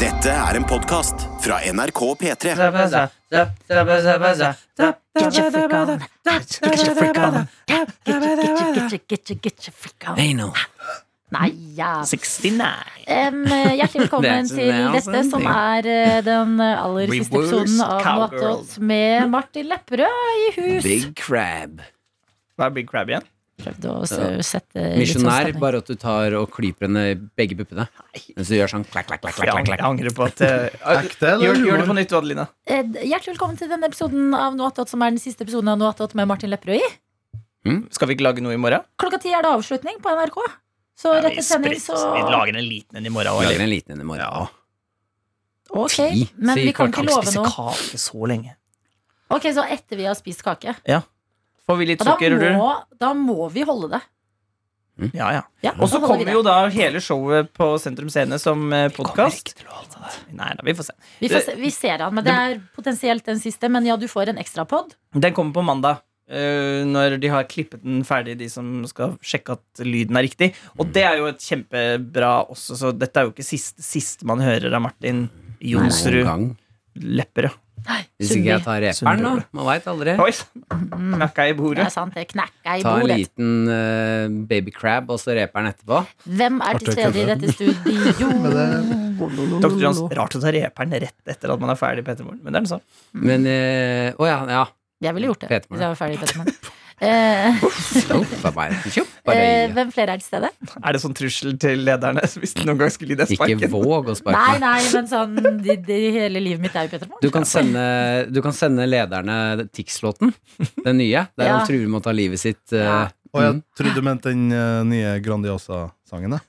Dette er en podkast fra NRK P3. Get your freak on. Get your freak on. Get your, get your, get your, get your, get your freak on. Hey, no. Nei, ja. 69. Em, eh, hjertelig velkommen That's til dette, announcing. som er eh, den aller siste Reverse episoden av cowgirl. Noatot med Martin Lepperød i hus. Big crab. Hva er Big Crab igjen? Prøvde å uh, s- sette litt sånn Misjonær, stemning. bare at du tar og klyper henne i begge puppene. Mens du gjør sånn klakk, klakk, klakk, Jeg klakk, angrer, jeg klakk. angrer på at eh, Ekte, eller gjør, gjør det humor? på nytt, Adelina. Eh, Hjertelig velkommen til denne episoden av Noatot, som er den siste episoden av Noatot med Martin Lepperød i. Skal vi ikke lage noe i morgen? Klokka ti er det avslutning på NRK. Så Ja, rett vi etter sending, spredt- så Vi lager en liten en i morgen. Vi også, lager eller? en liten en i morgen. Ok, Ti? men Si vi kan kvart ikke Kan vi love spise noe. kake så lenge? Ok, så etter vi har spist kake. Får vi litt Da sukker, tror du? må, da må vi holde det. Ja, ja. Ja, Og så da holder vi kommer det. jo da hele showet på Sentrum Scene som podkast. Nei da, vi får se. Vi, får se, vi ser han, men det er potensielt den siste. Men ja, du får en ekstra pod. Den kommer på mandag. eh, når de har klippet den ferdig, de som skal sjekke at lyden er riktig. Og det er jo et kjempebra også, så dette er jo ikke siste, siste man hører av Martin Noen Jonsrud gang. Lepperød. Hvis ikke jeg tar reperen, da. Sundby. Man veit aldri. Oi sann! Knakka i Det bordet. er sant, det knekka i Ta en bordet. liten eh, baby crab, og så reperen etterpå. Hvem er til stede i dette studio? Dr. Johns, rart å ta reperen rett etter at man er ferdig, Petter Moren. Men det er noe sånn. Men eh, Å ja, ja. Jeg ville gjort det Petermann. hvis jeg var ferdig i Petermann. Eh, Uff, da bare- tjopp, eh, bare- hvem flere er til stede? Er det sånn trussel til lederne hvis de noen gang skulle gi deg Ikke sparken? våg å sparke Nei, meg. nei, men sånn de, de, Hele livet mitt er jo Petermann. Du kan, sende, du kan sende lederne Tix-låten, den nye, der Ja. han truer med å ta livet sitt. eh, Ja. Og jeg trodde du mente den eh, nye Grandiosa-sangen. jeg.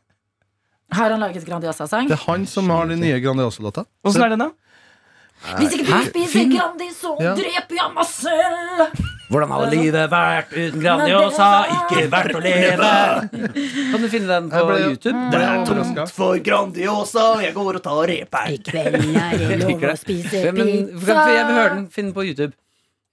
Har han laget Grandiosa-sang? Det er han som har den nye Grandiosa-låta. Åssen er den, da? Hvis ikke du spiser Grandis, så Ja. dreper jeg meg selv! Hvordan hadde sånn. livet vært uten Grandiosa? Ikke verdt å leve! Kan du finne den på Jeg ble jo- YouTube? Ble jeg overrasket? for Grandiosa, jeg går og tar reperen. I kveld er det lov å spise Ja, Men, jeg vil høre den. Finn den på YouTube.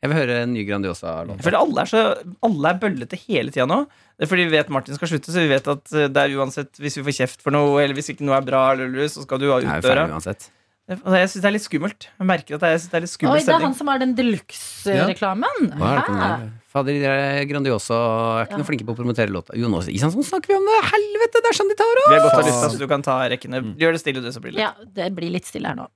Jeg vil høre en ny Grandiosa-låt. Jeg føler alle er, så, alle er bøllete hele tida nå. Det er fordi vi vet Martin skal slutte, så vi vet at eh, det er uansett hvis vi får kjeft for noe, eller hvis ikke noe er bra, eller, eller, så skal du ha Jeg er ut jo ferdig døra. uansett. Og Jeg syns det er litt skummelt. Jeg merker at jeg synes det er litt Oi, skummel det er han stemning. som har den deluxe-reklamen. Hva er det på den Hæ? der? Fader, de der Grandiosa er ikke noe flinke på å promotere låta. Jonas Isansson snakker vi om det! Helvete, det er sånn de tar av! Vi har godt av Faen. lufta, så du kan ta rekkene. Mm. Gjør det stille, du, så blir det litt. Ja, det blir litt stille her nå.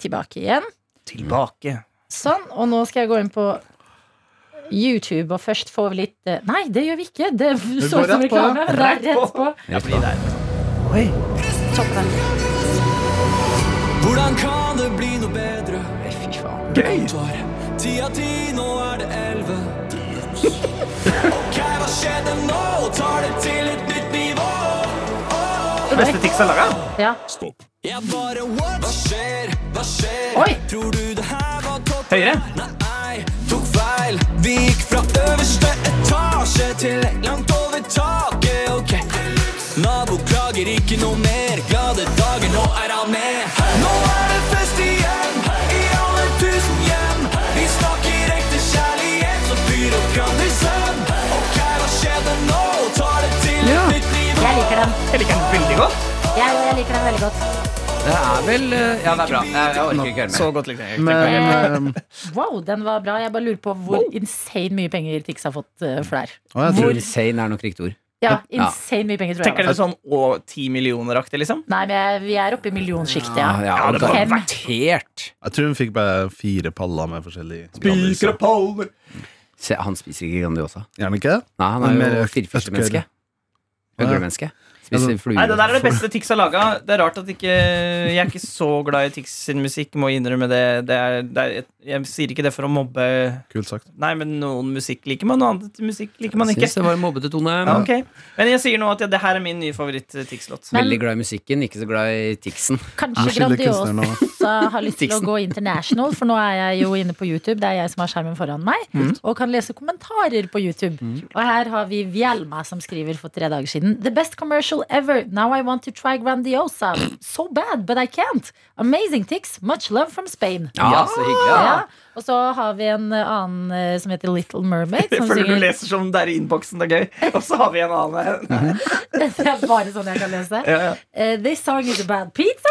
Tilbake igjen. Tilbake. Sånn, og nå skal jeg gå inn på YouTube og først få litt eh, Nei, det gjør vi ikke. Det så går ut som rett på, reklame. men Det er rett på. Ja, fordi det er Oi. Hvordan kan det bli noe bedre? Fy faen. Gøy! Var ti av ti, nå er det elleve. Ok, hva skjedde nå? Tar det til et nytt nivå. Det beste Tix har laga. Ja. Jeg bare what? Hva skjer? Hva skjer? Oi. Tror du det her var topp? Høyre. Nei, tok feil. Vi gikk fra øverste etasje til langt over taket. Ok, nabo klager ikke noe mer. Glade dager, nå er han med. Nå er det fest igjen i alle tusen hjem. Vi snakker ekte kjærlighet, så fyr opp Grandisen. Ok, hva skjedde nå? Tar det til et nytt nivå. Jeg liker den. Jeg liker den veldig godt. Jeg, jeg liker den veldig godt. Det er vel eh, Ja, det er bra. Jeg, jeg orker ikke høre Så mer. godt likte jeg Men Eh, ehm, Wow, den var bra. Jeg bare lurer på hvor insane mye penger Tix har fått eh, for det her. å, jeg Hvor tror, insane er nok riktig ord. Ja, Ja. insane mye penger, tror jeg. Tenker dere sånn å, ti millioner-aktig, liksom? Nei, men jeg, vi er oppe i millionsjiktet, Ah, ja. Ja, det var Fem. garantert. jeg tror hun fikk bare fire paller med forskjellig Spiker og palmer. Se, han spiser ikke Grandiosa. Gjerne ikke? Nei, han Men er jo mer firfislemenneske. østgøyre. Øglemenneske. Spiser Altså- fluer. Nei, Det der er det beste Tix har laga. Det er rart at ikke Jeg er ikke så glad i Tix sin musikk, må jeg innrømme det. det, er, det er, jeg, jeg sier ikke det for å mobbe Kult sagt. Nei, men noen musikk liker man, og annet musikk liker man ikke. Syns det var en mobbete tone. Ja, ok. Men jeg sier nå at ja, det her er min nye favoritt-Tix-låt. Men- Veldig glad i musikken, ikke så glad i Tixen. Kanskje Skille kunstnerne Grandiosa altså har lyst til å gå international, for nå er jeg jo inne på YouTube, det er jeg som har skjermen foran meg, Mm. og kan lese kommentarer på YouTube. Og her har vi Vjelma som skriver for tre dager siden. The best commercial ever. Now I want to try Grandiosa. So bad, but I can't. Amazing tics. Much love from Spain. Ja, så hyggelig. Ja. Ja. Og så har vi en eh, annen eh, som heter Little Mermaid. Jeg Som føler du synger leser som det er i innboksen. Det er gøy. Og så har vi en annen. her. Det er bare sånn jeg kan lese. Eh, this song is about pizza.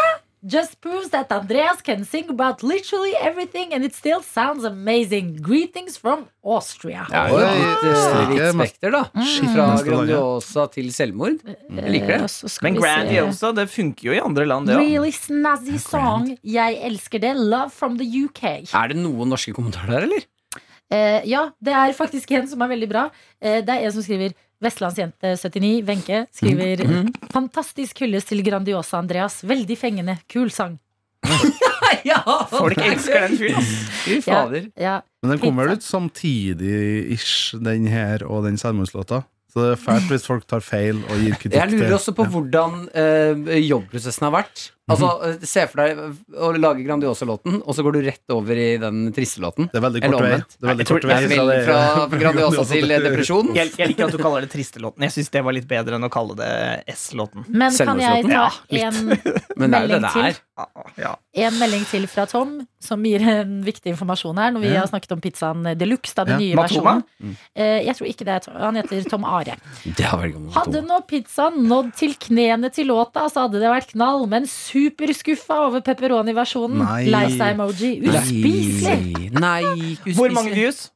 Just proves that Andreas can sing about literally everything, and it still sounds amazing. Greetings from Austria. Ja, Oi, litt, eh, litt Østerrike, men- spekter, da. Fra Grandiosa til selvmord. Jeg liker det. Eh, og så skal Men vi Grand se. Yosa, det funker jo i andre land, det òg. Really snazzy song. Jeg elsker det. Love from the UK. Er det noen norske kommentarer der, eller? Eh, ja, det er faktisk en som er veldig bra. Eh, det er en som skriver Vestlandsjente79, Wenche, skriver Mm. Fantastisk hyllest til Grandiosa Andreas. Veldig fengende. Kul sang. Ja! Folk elsker den fyren. ass. Fy fader. Ja, Men den kommer vel Pizza. ut samtidig-ish, den her og den selvmordslåta. Så det er fælt hvis folk tar feil og gir kritikk Jeg lurer til- også på hvordan eh, jobbprosessen har vært. Altså, eh, Mhm. Se for deg å lage Grandiosa-låten, og så går du rett over i den triste låten. Det er veldig Eller kort vei. omvendt. Det er veldig tror- kort vei jeg fra det- Fra Grandiosa til eh, depresjon. Jeg, jeg liker at du kaller det tristelåten. Jeg syns det var litt bedre enn å kalle det S-låten. Men kan jeg Selvmordslåten? ta Ja, en, Men det er jo det det Melding er. Ah, Ja. en melding til fra Tom, som gir en viktig informasjon her, når vi har snakket om pizzaen de luxe, da, den nye Ja. Matoma? versjonen? Eh, Jeg tror ikke det er Tom. Han heter Tom Are. Det har vært gammelt. Hadde nå pizzaen nådd til knærne til låta, så hadde det vært knall, men superskuffa over pepperoni-versjonen. Nei. Lei seg-emoji. Uspiselig! Nei, Nei, ikke Hvor mange uspiselig. views?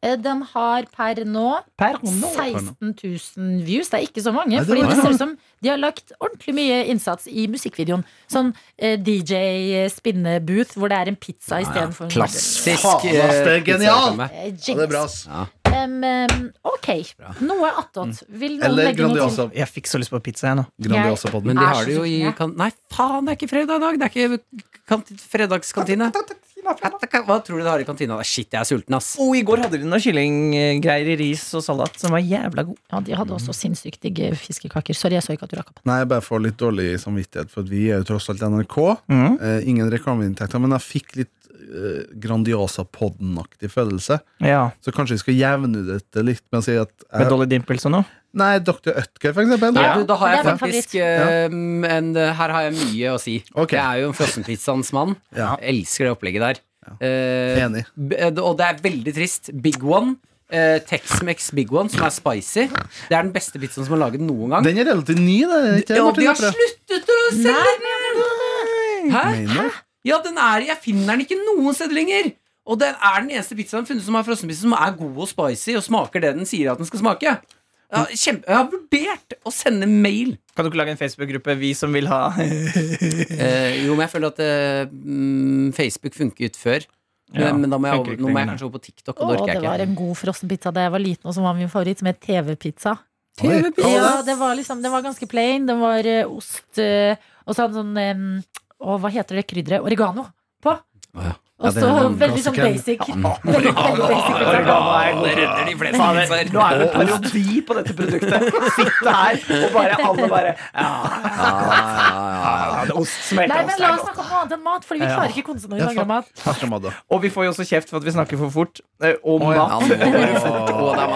Eh, Den har per nå Per 16 000 views. Det er ikke så Nei, mange. det Fordi var- det ser ut som de har lagt ordentlig mye innsats i musikkvideoen. Sånn eh, DJ-spinnebooth hvor det er en pizza istedenfor en Klassisk Faen, ass, det er eh, genialt! pizzareklame. Eh, Ja, jinx. det er bra, ass. Em, em, ok, noe attåt. Vil noen Eller legge noe til? Grandiosa. Jeg fikk så lyst på pizza, jeg nå. Grandiosa på Men den. de Er har så det jo i sulten, jeg. kan Nei, faen, det er ikke fredag i dag! Det er ikke kant fredagskantine. Hva tror du det har i kantina? Shit, jeg er sulten, ass. Oh, I går hadde de noen kyllinggreier i ris og salat som var jævla god. Ja, de hadde Mhm. også sinnssykt digge fiskekaker. Sorry, jeg så ikke at du rakk opp. Nei, jeg bare får litt dårlig samvittighet, for at vi er jo tross alt NRK. Mhm. Eh, ingen reklameinntekter, men jeg fikk litt eh, Grandiosa-podden-aktig følelse. Ja, Så kanskje vi skal jevne ut dette litt med å si at Med eh, Dolly Dimples og noe. Nei, Dr. Ødker, for eksempel. Nei, du, da har jeg Det er min faktisk favoritt. ehm, en, Her har jeg mye å si. Ok. Jeg er jo en frossenpizzaens mann. Ja. Jeg elsker det opplegget der. Eh, Enig. b- og det er veldig trist. Big One. Uh, Tex-Mex Big One, som er spicy. Det er den beste pizzaen som er laget noen gang. Den er relativt ny, det er ikke det, Ja, Martin de har Lepperød? sluttet å selge den! Hæ? Mener du? Ja, den er, jeg finner den ikke noen steder lenger. Og den er den eneste pizzaen jeg har funnet som er frossenpizza som er god og spicy og smaker det den sier at den skal smake. Jeg har, kjempe, jeg har vurdert å sende mail. Kan du ikke lage en Facebook-gruppe, vi som vil ha Eh, jo, men jeg føler at eh, mm, Facebook funket før. Ja, men da må jeg, funker over- nå ikke må jeg lenger. kanskje over på TikTok, og Å, det orker det jeg var ikke. en god frossenpizza da jeg var liten, og som var min favoritt, som het TV-pizza. Oi. Ja, det var liksom, den var ganske plain. Den var eh, ost eh, Og så hadde den sånn em, Å, hva heter det krydderet? Oregano på. ja. Og det er så en veldig sånn klassiker. basic. Veldig, veldig basic pizza. Oregano er redder de fleste Fader, pizzaer. Nå er det parodi på dette produktet. Sitte her, og bare alle bare Ja, ja, det er ost smelter Nei, men ost, det er la oss godt. snakke om noe annet enn mat, Fordi vi klarer ikke å konsentrere Ja, oss om mat. Takk skal du ha, da. Og vi får jo også kjeft for at vi snakker for fort. eh, Om Å, ja. mat. Og det er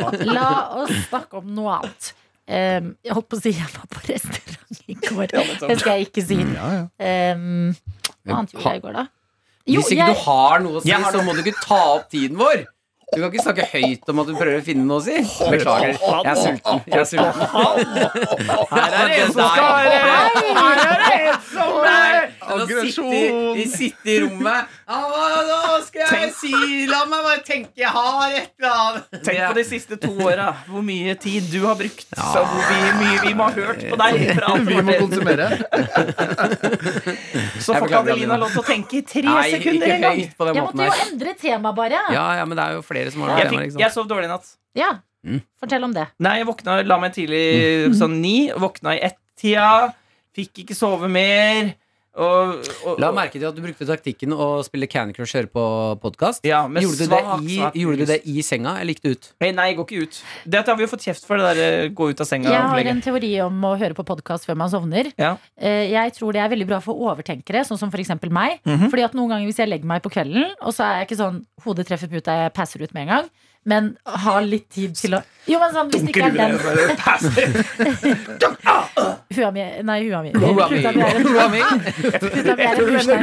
mat. La oss snakke om noe annet. Em, jeg holdt på å si jeg var på restaurant i går. Det skal jeg ikke si. Mm, Ja, ja. Em, hva annet gjorde jeg i går, da? Jo, Hvis ikke jeg- du har noe å si, Jeg har så må du ikke ta opp tiden vår. Du kan ikke snakke høyt om at du prøver å finne noe å si. Beklager. Jeg er sulten. Jeg er sulten. Her er det en som skal Her er det en som er Aggresjon. De sitter i rommet. Ja, hva nå skal jeg si? La meg bare tenke. Jeg har et eller annet. Tenk på de siste to åra. Hvor mye tid du har brukt. Så hvor mye, mye vi må ha hørt på deg. Fra Vi må konsumere. så Jeg får ikke beklager, Adelina Adelina. lov til å tenke i tre Nei, sekunder ikke engang. høyt på den Jeg måten måtte jo her. endre tema, bare. Ja, ja, men det er jo flere som har Jeg, problemer. fikk, Ikke jeg sant? sov dårlig i natt. Ja, Mm. Fortell om det. Nei, jeg våkna, la meg tidlig sånn ni. Våkna i ett-tida. Fikk ikke sove mer. Og, og, La merke til at du brukte taktikken å spille Candy Crush høre på podkast. Ja, med gjorde, du svak, det i- svak gjorde du det i senga, eller gikk du ut? Hei, nei, gå ikke ut. Dette har vi jo fått kjeft for, det der eh, gå ut av senga. Jeg har en opplegget. teori om å høre på podkast før man sovner. Ja. Eh, Jeg tror det er veldig bra for overtenkere, sånn som f.eks. meg. Mhm. Fordi at noen ganger hvis jeg legger meg på kvelden, og så er jeg ikke sånn hodet treffer puta, jeg passer ut med en gang, men har litt tid til å Jo, men sånn, hvis det ikke er den Hua mi Nei, hua mi. Puta mi er en Hua mi. Puta mi er en murstein.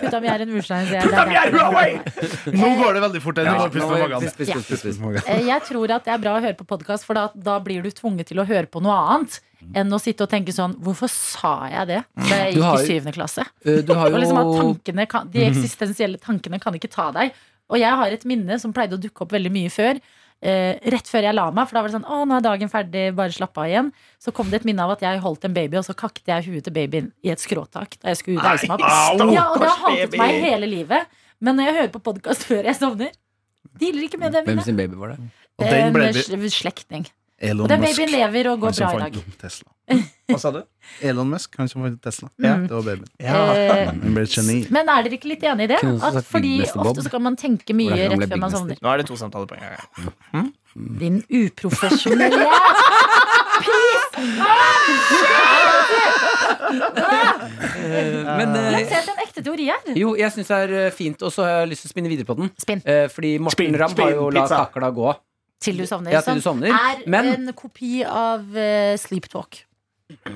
Puta mi er en murstein. så jeg- det er- Nå går det veldig fort. Jeg, Ja, må puste nå på må magen. jeg- pust, pust, pust, pust. Eh, Jeg tror at det er bra å høre på podkast, for da, da blir du tvunget til å høre på noe annet enn å sitte og tenke sånn Hvorfor sa jeg det da jeg Du har gikk i jo- syvende klasse? Eh, Du har Og liksom at jo tankene kan, De eksistensielle tankene kan ikke ta deg. Og jeg har et minne som pleide å dukke opp veldig mye før. Eh, rett før jeg la meg, for da var det sånn Å, nå er dagen ferdig, bare slapp av igjen. Så kom det et minne av at jeg holdt en baby, og så kakket jeg huet til babyen i et skråtak. Da jeg skulle ut og reise meg opp. Ja, og det har hatet baby. meg hele livet. Men når jeg hører på podkast før jeg sovner, dealer ikke med det Hvem minnet. sin baby var det? Og den En ble sl- slektning. Elon Og den Musk. babyen lever og Han går bra som i fant dag. opp Tesla. Hva sa du? Elon Musk, han som fant opp Tesla. Mm. Ja. Det var babyen. Eh, Han ble et geni. men er dere ikke litt enig i det? Kunne også At sagt fordi byggmester Bob. ofte så kan man tenke mye Hvordan han ble rett før man byggmester. sovner. Nå er det to samtaler på en gang. Din uprofesjonelle Men eh, Se etter en ekte teori her. jo, jeg syns det er eh, fint, og så har jeg lyst til å spinne videre på den. Spinn Eh, Fordi Morten Spinn, Ramm har jo spinn, la pizza. kakla gå. til du sovner. Ja, til du som sovner. Er Men en kopi av eh, Sleep Talk.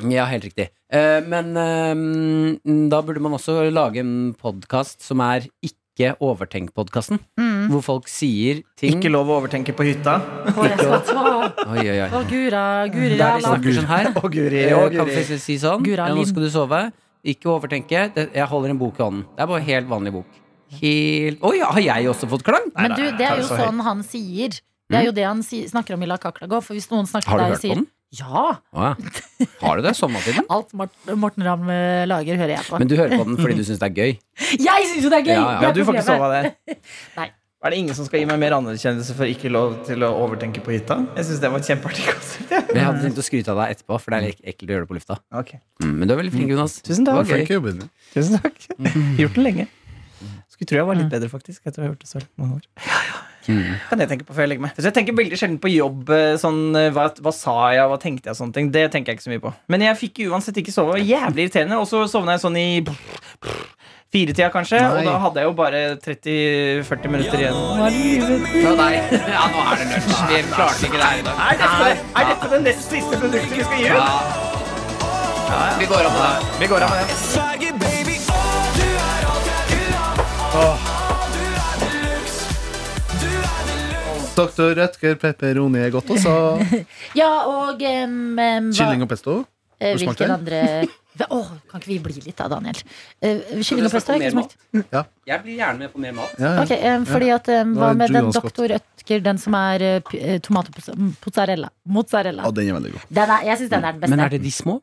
Ja, helt riktig. Eh, men eh, da burde man også lage en podkast som er ikke Overtenk-podkasten. Mm. Hvor folk sier ting Ikke lov å overtenke på hytta. Å, jeg skal ta- Oi, oi, oi. Å, gura, guri, Der de la- snakker sånn her. Å, guri, Eh, å, Kan vi guri. si- si sånn? Gura Ja, nå Lind. skal du sove. Ikke overtenke. Det- Jeg holder en bok i hånden. Det er bare helt vanlig bok. Helt Oi, har jeg også fått klang? Men du, det er jo ta det så sånn han sier. Det er jo det han si, snakker om i La Kakla gå. For hvis noen snakker til Mm. Har deg du og hørt på sier den? Ja! Å, ja. Har du det? Sommertiden? Alt Mort- Morten Ramm eh, lager, hører jeg på. Men du hører på den fordi du syns det er gøy? jeg syns jo det er gøy! Ja, ja. Det Ja, er du får ikke problemet. sove av det. Nei. Er det ingen som skal gi meg mer anerkjennelse for ikke lov til å overtenke på hytta? Jeg synes det var et kjempeartig konsept. jeg. Men jeg hadde tenkt å skryte av deg etterpå, for det er litt ekkelt å gjøre det på lufta. Ok, Mm, men du er veldig flink, Jonas. Tusen Det takk. var flink jobben din. Tusen takk. Gjort den lenge. Skulle tro jeg var litt bedre, faktisk. Etter å ha gjort det så mange år. Kan jeg tenke på før jeg legger meg. Så jeg tenker veldig sjelden på jobb. eh, Sånn, eh, hva, hva sa jeg, hva tenkte jeg, sånne ting. Det tenker jeg ikke så mye på. Men jeg fikk uansett ikke sove. Det var Jævlig irriterende. Og så sovna jeg sånn i firetida, kanskje. Og Nei. da hadde jeg jo bare 30-40 minutter igjen. Fra deg. Ja, nå er det lunsj. Vi klarte ikke det her i dag. Er dette, er dette det nest siste produktet vi skal gi ut? Vi går av på det. Vi går av med den. Sverger, baby, å, du er alt jeg vil ha. Å, du er deluxe. Du er deluxe. Doktor Rødger pepperoni er godt også. Ja, og em, em, hva- Kylling og pesto. eh, Hvor Hvilken smakte det? andre Hva- Åh, kan ikke vi bli litt da, Daniel? Eh, Kylling og snakke pesto har jeg om ikke mer smakt. Jeg blir gjerne med på mer mat. Ja, ja. Ok, eh, fordi at eh, Hva er med den Julian Scott. doktor Rødtger, den som er eh, p- eh, tomatmozzarella? Mozzarella. ja, den er veldig god. Den er, jeg syns den er den beste. Men er det de små?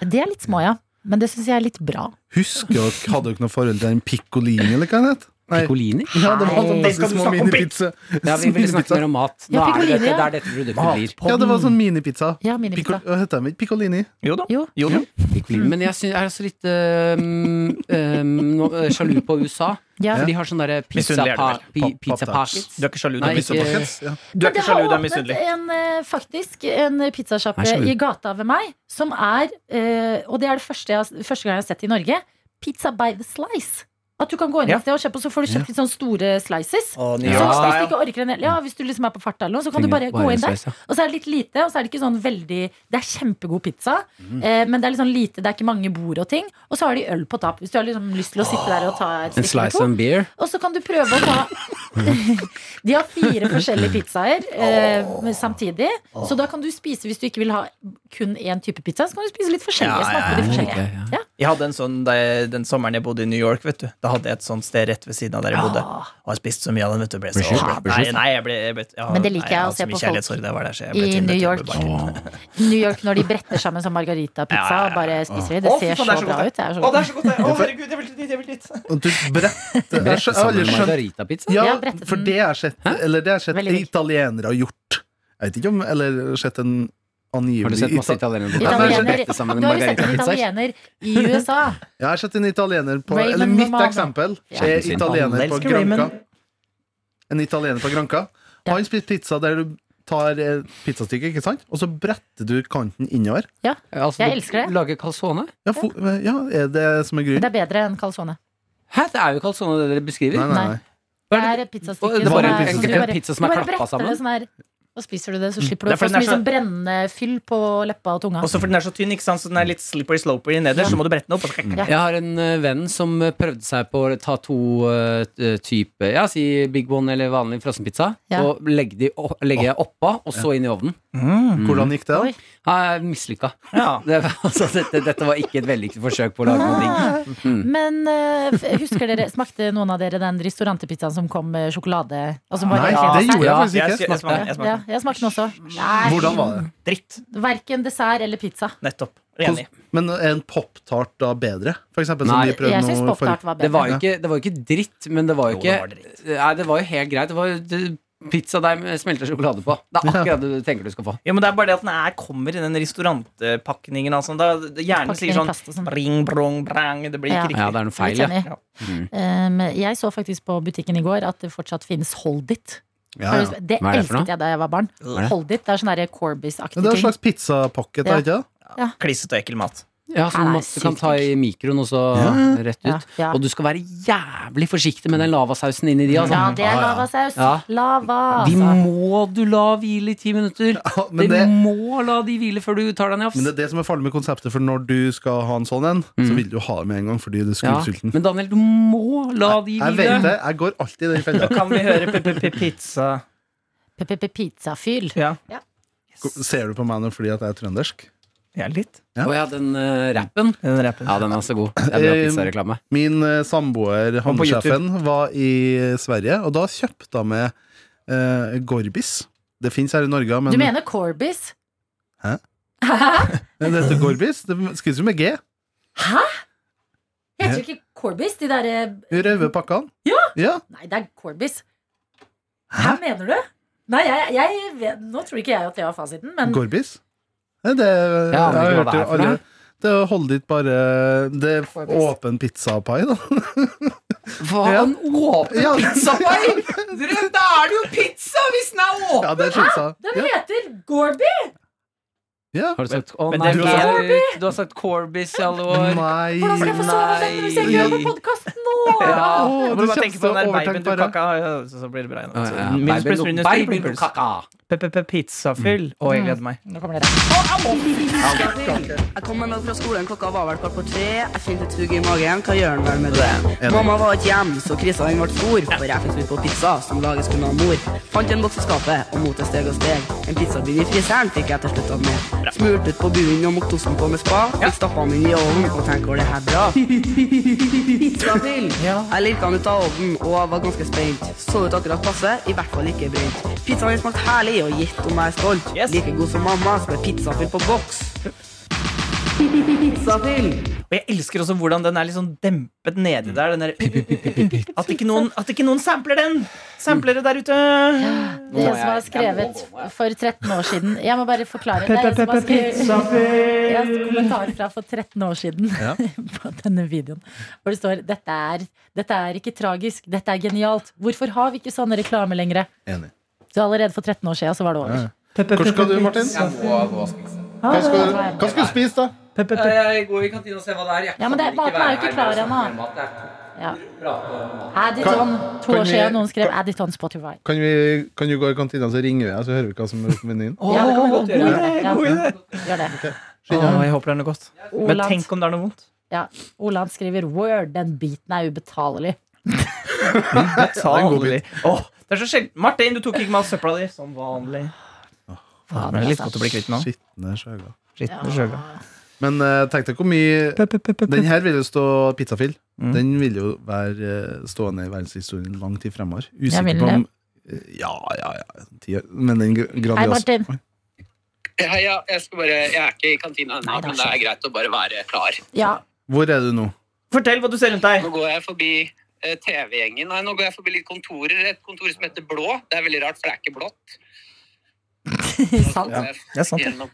Det er litt små, ja. Men det syns jeg er litt bra. Husker dere, hadde dere noe forhold til den piccolini, eller hva den het? Nei. Picolini? Ja, det var sånn Nei. ganske små minipizza. Ja, vi ville snakke mer om mat. Nå Ja, er det, picolini, dette, det ja. er dette produktet blir. Ja, det var sånn minipizza. Ja, minipizza. Piccol- Hva heter de? Piccolini. Jo da. Jo. Jo da. Picolini. Men jeg syn- jeg er så litt øhm, øhm, nå- øh, sjalu på USA. Ja. For de har sånne der pizza, Misunnelig er pa det pi Pop- pizza pop-tarts. pockets. Du er ikke sjalu, du Nei, er ikke- misunnelig. Pizzapakkets, Ja. Du er ikke sjalu, du er misunnelig. en, eh, faktisk en Jeg er pizzasjappe sjalu. i gata ved meg som er eh, Og det er det første, jeg, har- første gang jeg har sett i Norge. Pizza by the slice. At du kan gå inn Ja. et sted og kjøpe, og så får du kjøpt litt sånn store slices. Så Å, nydelig. hvis du ikke orker en hel, ja, hvis du liksom er på farta eller noe, så kan du bare gå inn der. Og så er det litt lite, og så er det ikke sånn veldig Det er kjempegod pizza, eh, men det er litt sånn lite, det er ikke mange bord og ting. Og så har de øl på tap, hvis du har liksom lyst til å sitte der og ta et En stikk eller slice to. and beer. Og så kan du prøve å ta De har fire forskjellige pizzaer eh, samtidig. Så da kan du spise, hvis du ikke vil ha kun én type pizza, så kan du spise litt forskjellige. smake på de forskjellige. ja. Ja. Jeg hadde en sånn da jeg, Den sommeren jeg bodde i New York, vet du Da hadde jeg et sånt sted rett ved siden av der jeg bodde. Ah. Og jeg spiste så mye av den. vet du ble så, Blir sjuk, blir nei, sjuk. nei, jeg ble, jeg ble, jeg, Men det liker nei, jeg å hadde så se mye på folk kjærlighetssorg da jeg var der, så jeg i ble New tynn, vet du, York. jeg ble bare- New York når de bretter sammen sånn margaritapizza og bare spiser de. Det Å, fy ser faen, det er så så bra godt, ut. Det er så Å, det godt. er så godt! det. Å, herregud, jeg vil dit! Jeg vil dit. Og du bretter Jeg har Sammen aldri med skjønt margaritapizza. Ja, Ja, brettet for den. det har jeg sett Eller det har jeg sett Veldig digg. italienere har gjort. Jeg vet ikke om Eller sett en angivelig Har du sett masse Ita- italienere Italiener- på Italiener- Dette sammen med Du har jo sett en margaritapizzaer? italiener i USA. Jeg har sett en italiener på Raymond Eller mitt Romano. eksempel Ja. er italiener Alle på elsker Granca. Raymond. En italiener på Granca. Ja. Han spiser pizza der du tar eh, pizzastykket, ikke sant? Og så bretter du kanten innover. Altså, Jeg du elsker det. Lager calzone? Ja, fo ja er det som er grunnen? Det er bedre enn calzone. Hæ, det er jo calzone det dere beskriver. Nei, nei, nei. Det er et pizzastykke Å, det er som bare en er- pizza- som du en bare- pizza som er du bare klappa bretter sammen. det sånn her, Og spiser du det, så slipper du Det er å få fordi så den mye er sånn brennende fyll på leppa og tunga. Også fordi den er så tynn, ikke sant? så den er litt slippery sloper i neder, så må du brette den opp. Og så Ja. Jeg har en eh, venn som eh, prøvde seg på å ta to eh, t- type Ja, si Big One eller vanlig frossenpizza, Ja. og legge de opp- legge oppå, og så inn i ovnen. Hvordan gikk det? Oi. da? Ja, Mislykka. Ja. Det, var- altså, dette, dette var ikke et vellykket forsøk på å lage noe Ah. digg. Men eh, f- husker dere, smakte noen av dere den restaurantepizzaen som kom med sjokolade? Og som var Nei, helt rent det gjorde dessert? jeg Ja, faktisk jeg, ikke. jeg, jeg, smakte den, jeg smakte Ja, den. jeg smakte den også. Hvordan var det? Dritt. Verken dessert eller pizza. Nettopp. Enig. Men er en poptart da bedre? For eksempel, Nei, som de prøvde Jeg syns nå pop forrige- tart var bedre. Det var jo ikke, det var jo ikke dritt, men det var jo Jo, ikke det var dritt. Nei, det var jo helt greit. Det var jo det- pizzadeig med smelta sjokolade på. Det er akkurat det du tenker du skal få. Ja, men det er bare det at den er, kommer i den restaurantpakningen. Altså. Da, hjernen Pakningen i sier sånn plast og sånn. Bring, brong, brang. Det blir Ja. ikke Ja, riktig. det er noe Litt feil, ja. enig. Um, jeg så faktisk på butikken i går at det fortsatt finnes Hold It. Ja, Har du ja. sp- Det Hva er det for noe? elsket jeg da jeg var barn. Hva er det? Hold It det er sånn derre Men Corbis-aktig Det er en ting. slags pizzapakke, Ja. er det ikke det? Klissete og ekkel mat. Nei, Ja, Som det er masse kan sykt ta i mikroen, og så rett ut. Ja, ja. Og du skal være jævlig forsiktig med den lavasausen inni de. Altså. Ja, det er Ja, ja. lavasaus. Ja. Lava, De altså. må du la hvile i ti minutter. men de det- må la de hvile før du tar deg en jafs. Men det er det som er farlig med konseptet, for når du skal ha en sånn en, så vil du ha det med en gang fordi du er Mm. Ja, skuddsulten. Men Daniel, du må la de Jeg hvile. vet det, jeg går alltid i den fella. Kan vi høre p-p-p-pizza? P-p-p-pizzafyll. Ja. Ser du på meg nå fordi at jeg er trøndersk? ja, litt. Å ja, den eh, rappen. Den rappen. Ja, den er så god. Jeg vil ha pizzareklame. Min eh, samboer, på havnesjefen, var i Sverige, og da kjøpte hun med eh, Gorbis. Det fins her i Norge, men Du mener Corbis? Men det heter Gorbis. Det skrives jo med G. Heter det ikke Corbis? De eh, derre De røde pakkene. Ja. Nei, det er Corbis. Hæ, mener du? Nei, jeg, jeg vet, Nå tror ikke jeg at det var fasiten, men Gorbis. Nei, Det, jeg aner har ikke hva hørt det er jo for noe. Det er å holde dit bare Det er Gorbis. åpen pizzapai, da. Hva Ja. en åpen Ja. pizzapai! Dere, Da er det jo pizza hvis den er åpen! Ja, det syns den jeg. heter Gorby! Ja. Har du sagt å Men nei, det er det er- Corby! Du har sagt Corbis i alle Ja. år. Nei Hvordan skal jeg få sove sånn hvis jeg ikke hører på podkast nå? Ja. Åh, Jeg du må bare kjente tenke på den der overtenkt babyen du bare. kakka, ja, så så blir det bra igjen. Å, ja. Så minus pluss, Babyen- minus pluss, babyen- pluss, pluss. kaka. P-p-p-pizzafyll. Mm. Å, jeg gleder Mm. meg. Nå kommer dere. Jeg kommer meg fra skolen, klokka var vel kvart på tre. Jeg kjente et hugg i magen. Hva gjør han vel med det? Mamma var ikke hjemme, så krisa den ble stor. For jeg fikk smitt på pizza, som lages kun av mor. Fant en boks i skapet, og mot det steg og steg. En pizzabunn i fryseren fikk jeg til slutt av med. Smurt ut på bunnen og mokte osten på med spa. Fikk stappa den inn i ovnen, og tenk var det her bra. Pizzafyll. Jeg lirka den ut av ovnen og var ganske spent. Så ut akkurat passe, i hvert fall ikke brent. Pizzaen den smakte herlig, og gitt om jeg er stolt. Yes. Like god som mamma, som er pizzafyll på boks. Pizzafyll. Og jeg elsker også hvordan den er litt sånn dempet Mm. nedi der. Den der at, ikke noen, at ikke noen sampler den! Samplere der ute! Det som var skrevet for 13 år siden Jeg må bare forklare. Det er en som har skrevet Jeg har en kommentar fra for 13 år siden på denne videoen. Hvor det står dette er, 'Dette er ikke tragisk, dette er genialt'. Hvorfor har vi ikke sånne reklame lenger? Enig. Så allerede for 13 år siden så var det over. Hvor skal du, Martin? Hva skal, du- hva skal du spise, da? Jeg går i kantina og ser hva det er. Jeg Ja, men kan det- ikke maten være er jo ikke her klar med ennå. sånn mat. Det er- Ja. prate om mat. Additon. To kan år vi- siden noen skrev Additon Spotify. Kan, vi, kan du gå i kantina, så ringer vi deg, så hører vi hva som er på menyen? Ja, det kan vi godt gjøre. Ja, God idé! gjør det. Å, jeg håper det er noe godt. Men Oland. tenk om det er noe vondt. Ja. Oland skriver 'Word, den biten er ubetalelig'. Vanlig. Åh, det er så sjelden. Martin, du tok ikke med all søpla di. Som vanlig. Faen, Det er litt altså. godt å bli kvitt nå. Skitne sjøga. Skitne sjøga. Men eh, tenk deg hvor mye Den her vil jo stå pizzafil. Mm. Den vil jo være eh, stående i verdenshistorien lang tid fremover. Ja, vil Usikker på om eh, Ja, ja, ja. ti- Men den gra- Hei, gradias Martin. Heia, jeg, skal bare, jeg er ikke i kantina ennå, Nei, det er men det er greit å bare være klar. Ja. Hvor er du nå? Fortell hva du ser rundt deg. Nå går jeg forbi eh, TV-gjengen. Nei, nå går jeg forbi litt kontorer. Et kontor som heter Blå. Det er veldig rart, for det er ikke blått. Sant. Det er sant, det. gjennom,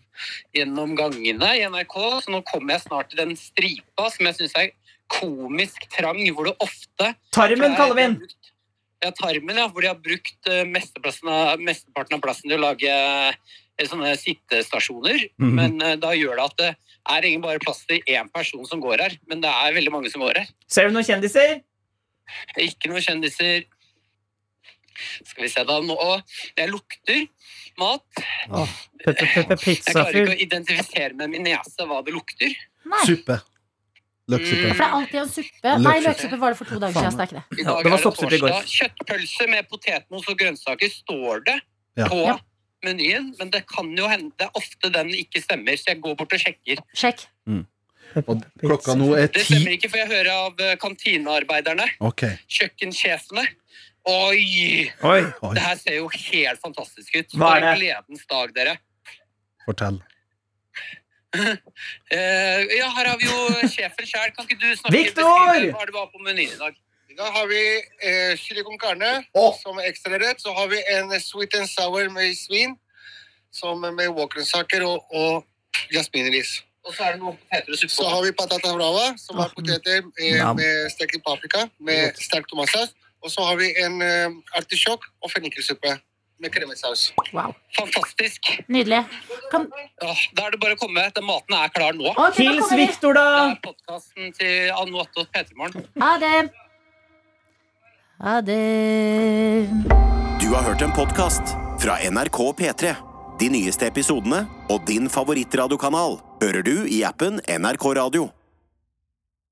gjennom gangene i NRK. Så nå kommer jeg snart til den stripa som jeg syns er komisk trang, hvor det ofte Tarmen kaller vi den! Ja, tarmen, ja. Hvor de har brukt eh, mesteplassen av, mesteparten av plassen til å lage eh, sånne sittestasjoner. Mhm. Men eh, da gjør det at det er egentlig bare plass til én person som går her. Men det er veldig mange som går her. Ser du noen kjendiser? Ikke noen kjendiser. Skal vi se, da. Nå, å, jeg lukter mat. Jeg klarer ikke Pizzafyr. å identifisere med min nese hva det lukter. Nei, Suppe. Løksuppe. for det er alltid en suppe. Nei, Løksuppe. løksuppe var det for to dager siden. så det er ikke det. I Ja, dag det var er soppsuppe i går. torsdag. Kjøttpølse med potetmos og grønnsaker står det Ja. på Ja. menyen, men det kan jo hende det er ofte den ikke stemmer, så jeg går bort og sjekker. Sjekk. Og klokka nå er Det ti. stemmer ikke, for jeg hører av eh, kantinearbeiderne, Ok. kjøkkensjefene. Oi! Oi. Oi, Det her ser jo helt fantastisk Hva ut. er For en det? Gledens dag, dere. fortell. Eh, ja, her har vi jo sjefen sjøl. Kan ikke du snakke Viktor! beskrive hva det var på menyen i dag? I dag har vi eh, chili con carne som er ekstrarett. Så har vi en eh, sweet and sour med svin som eh, med wokgrønnsaker og, og jasminris. Og så er det noen poteter og Så suppe. har vi patata brava, som er poteter eh, Nam. med stekt paprika med sterk tomatsaus. Og så har vi en eh, artisjokk og fennikelsuppe med kremesaus. Wow. Fantastisk. Nydelig. Kan... Åh, da er det bare å komme. Den maten er klar nå. Ok, da Hils kommer vi. Viktor, Det da! er podkasten til Anno Atte og Petermorgen. Ha det. Ha det. Du har hørt en podcast fra NRK P3. De nyeste episodene og din favorittradiokanal hører du i appen NRK Radio.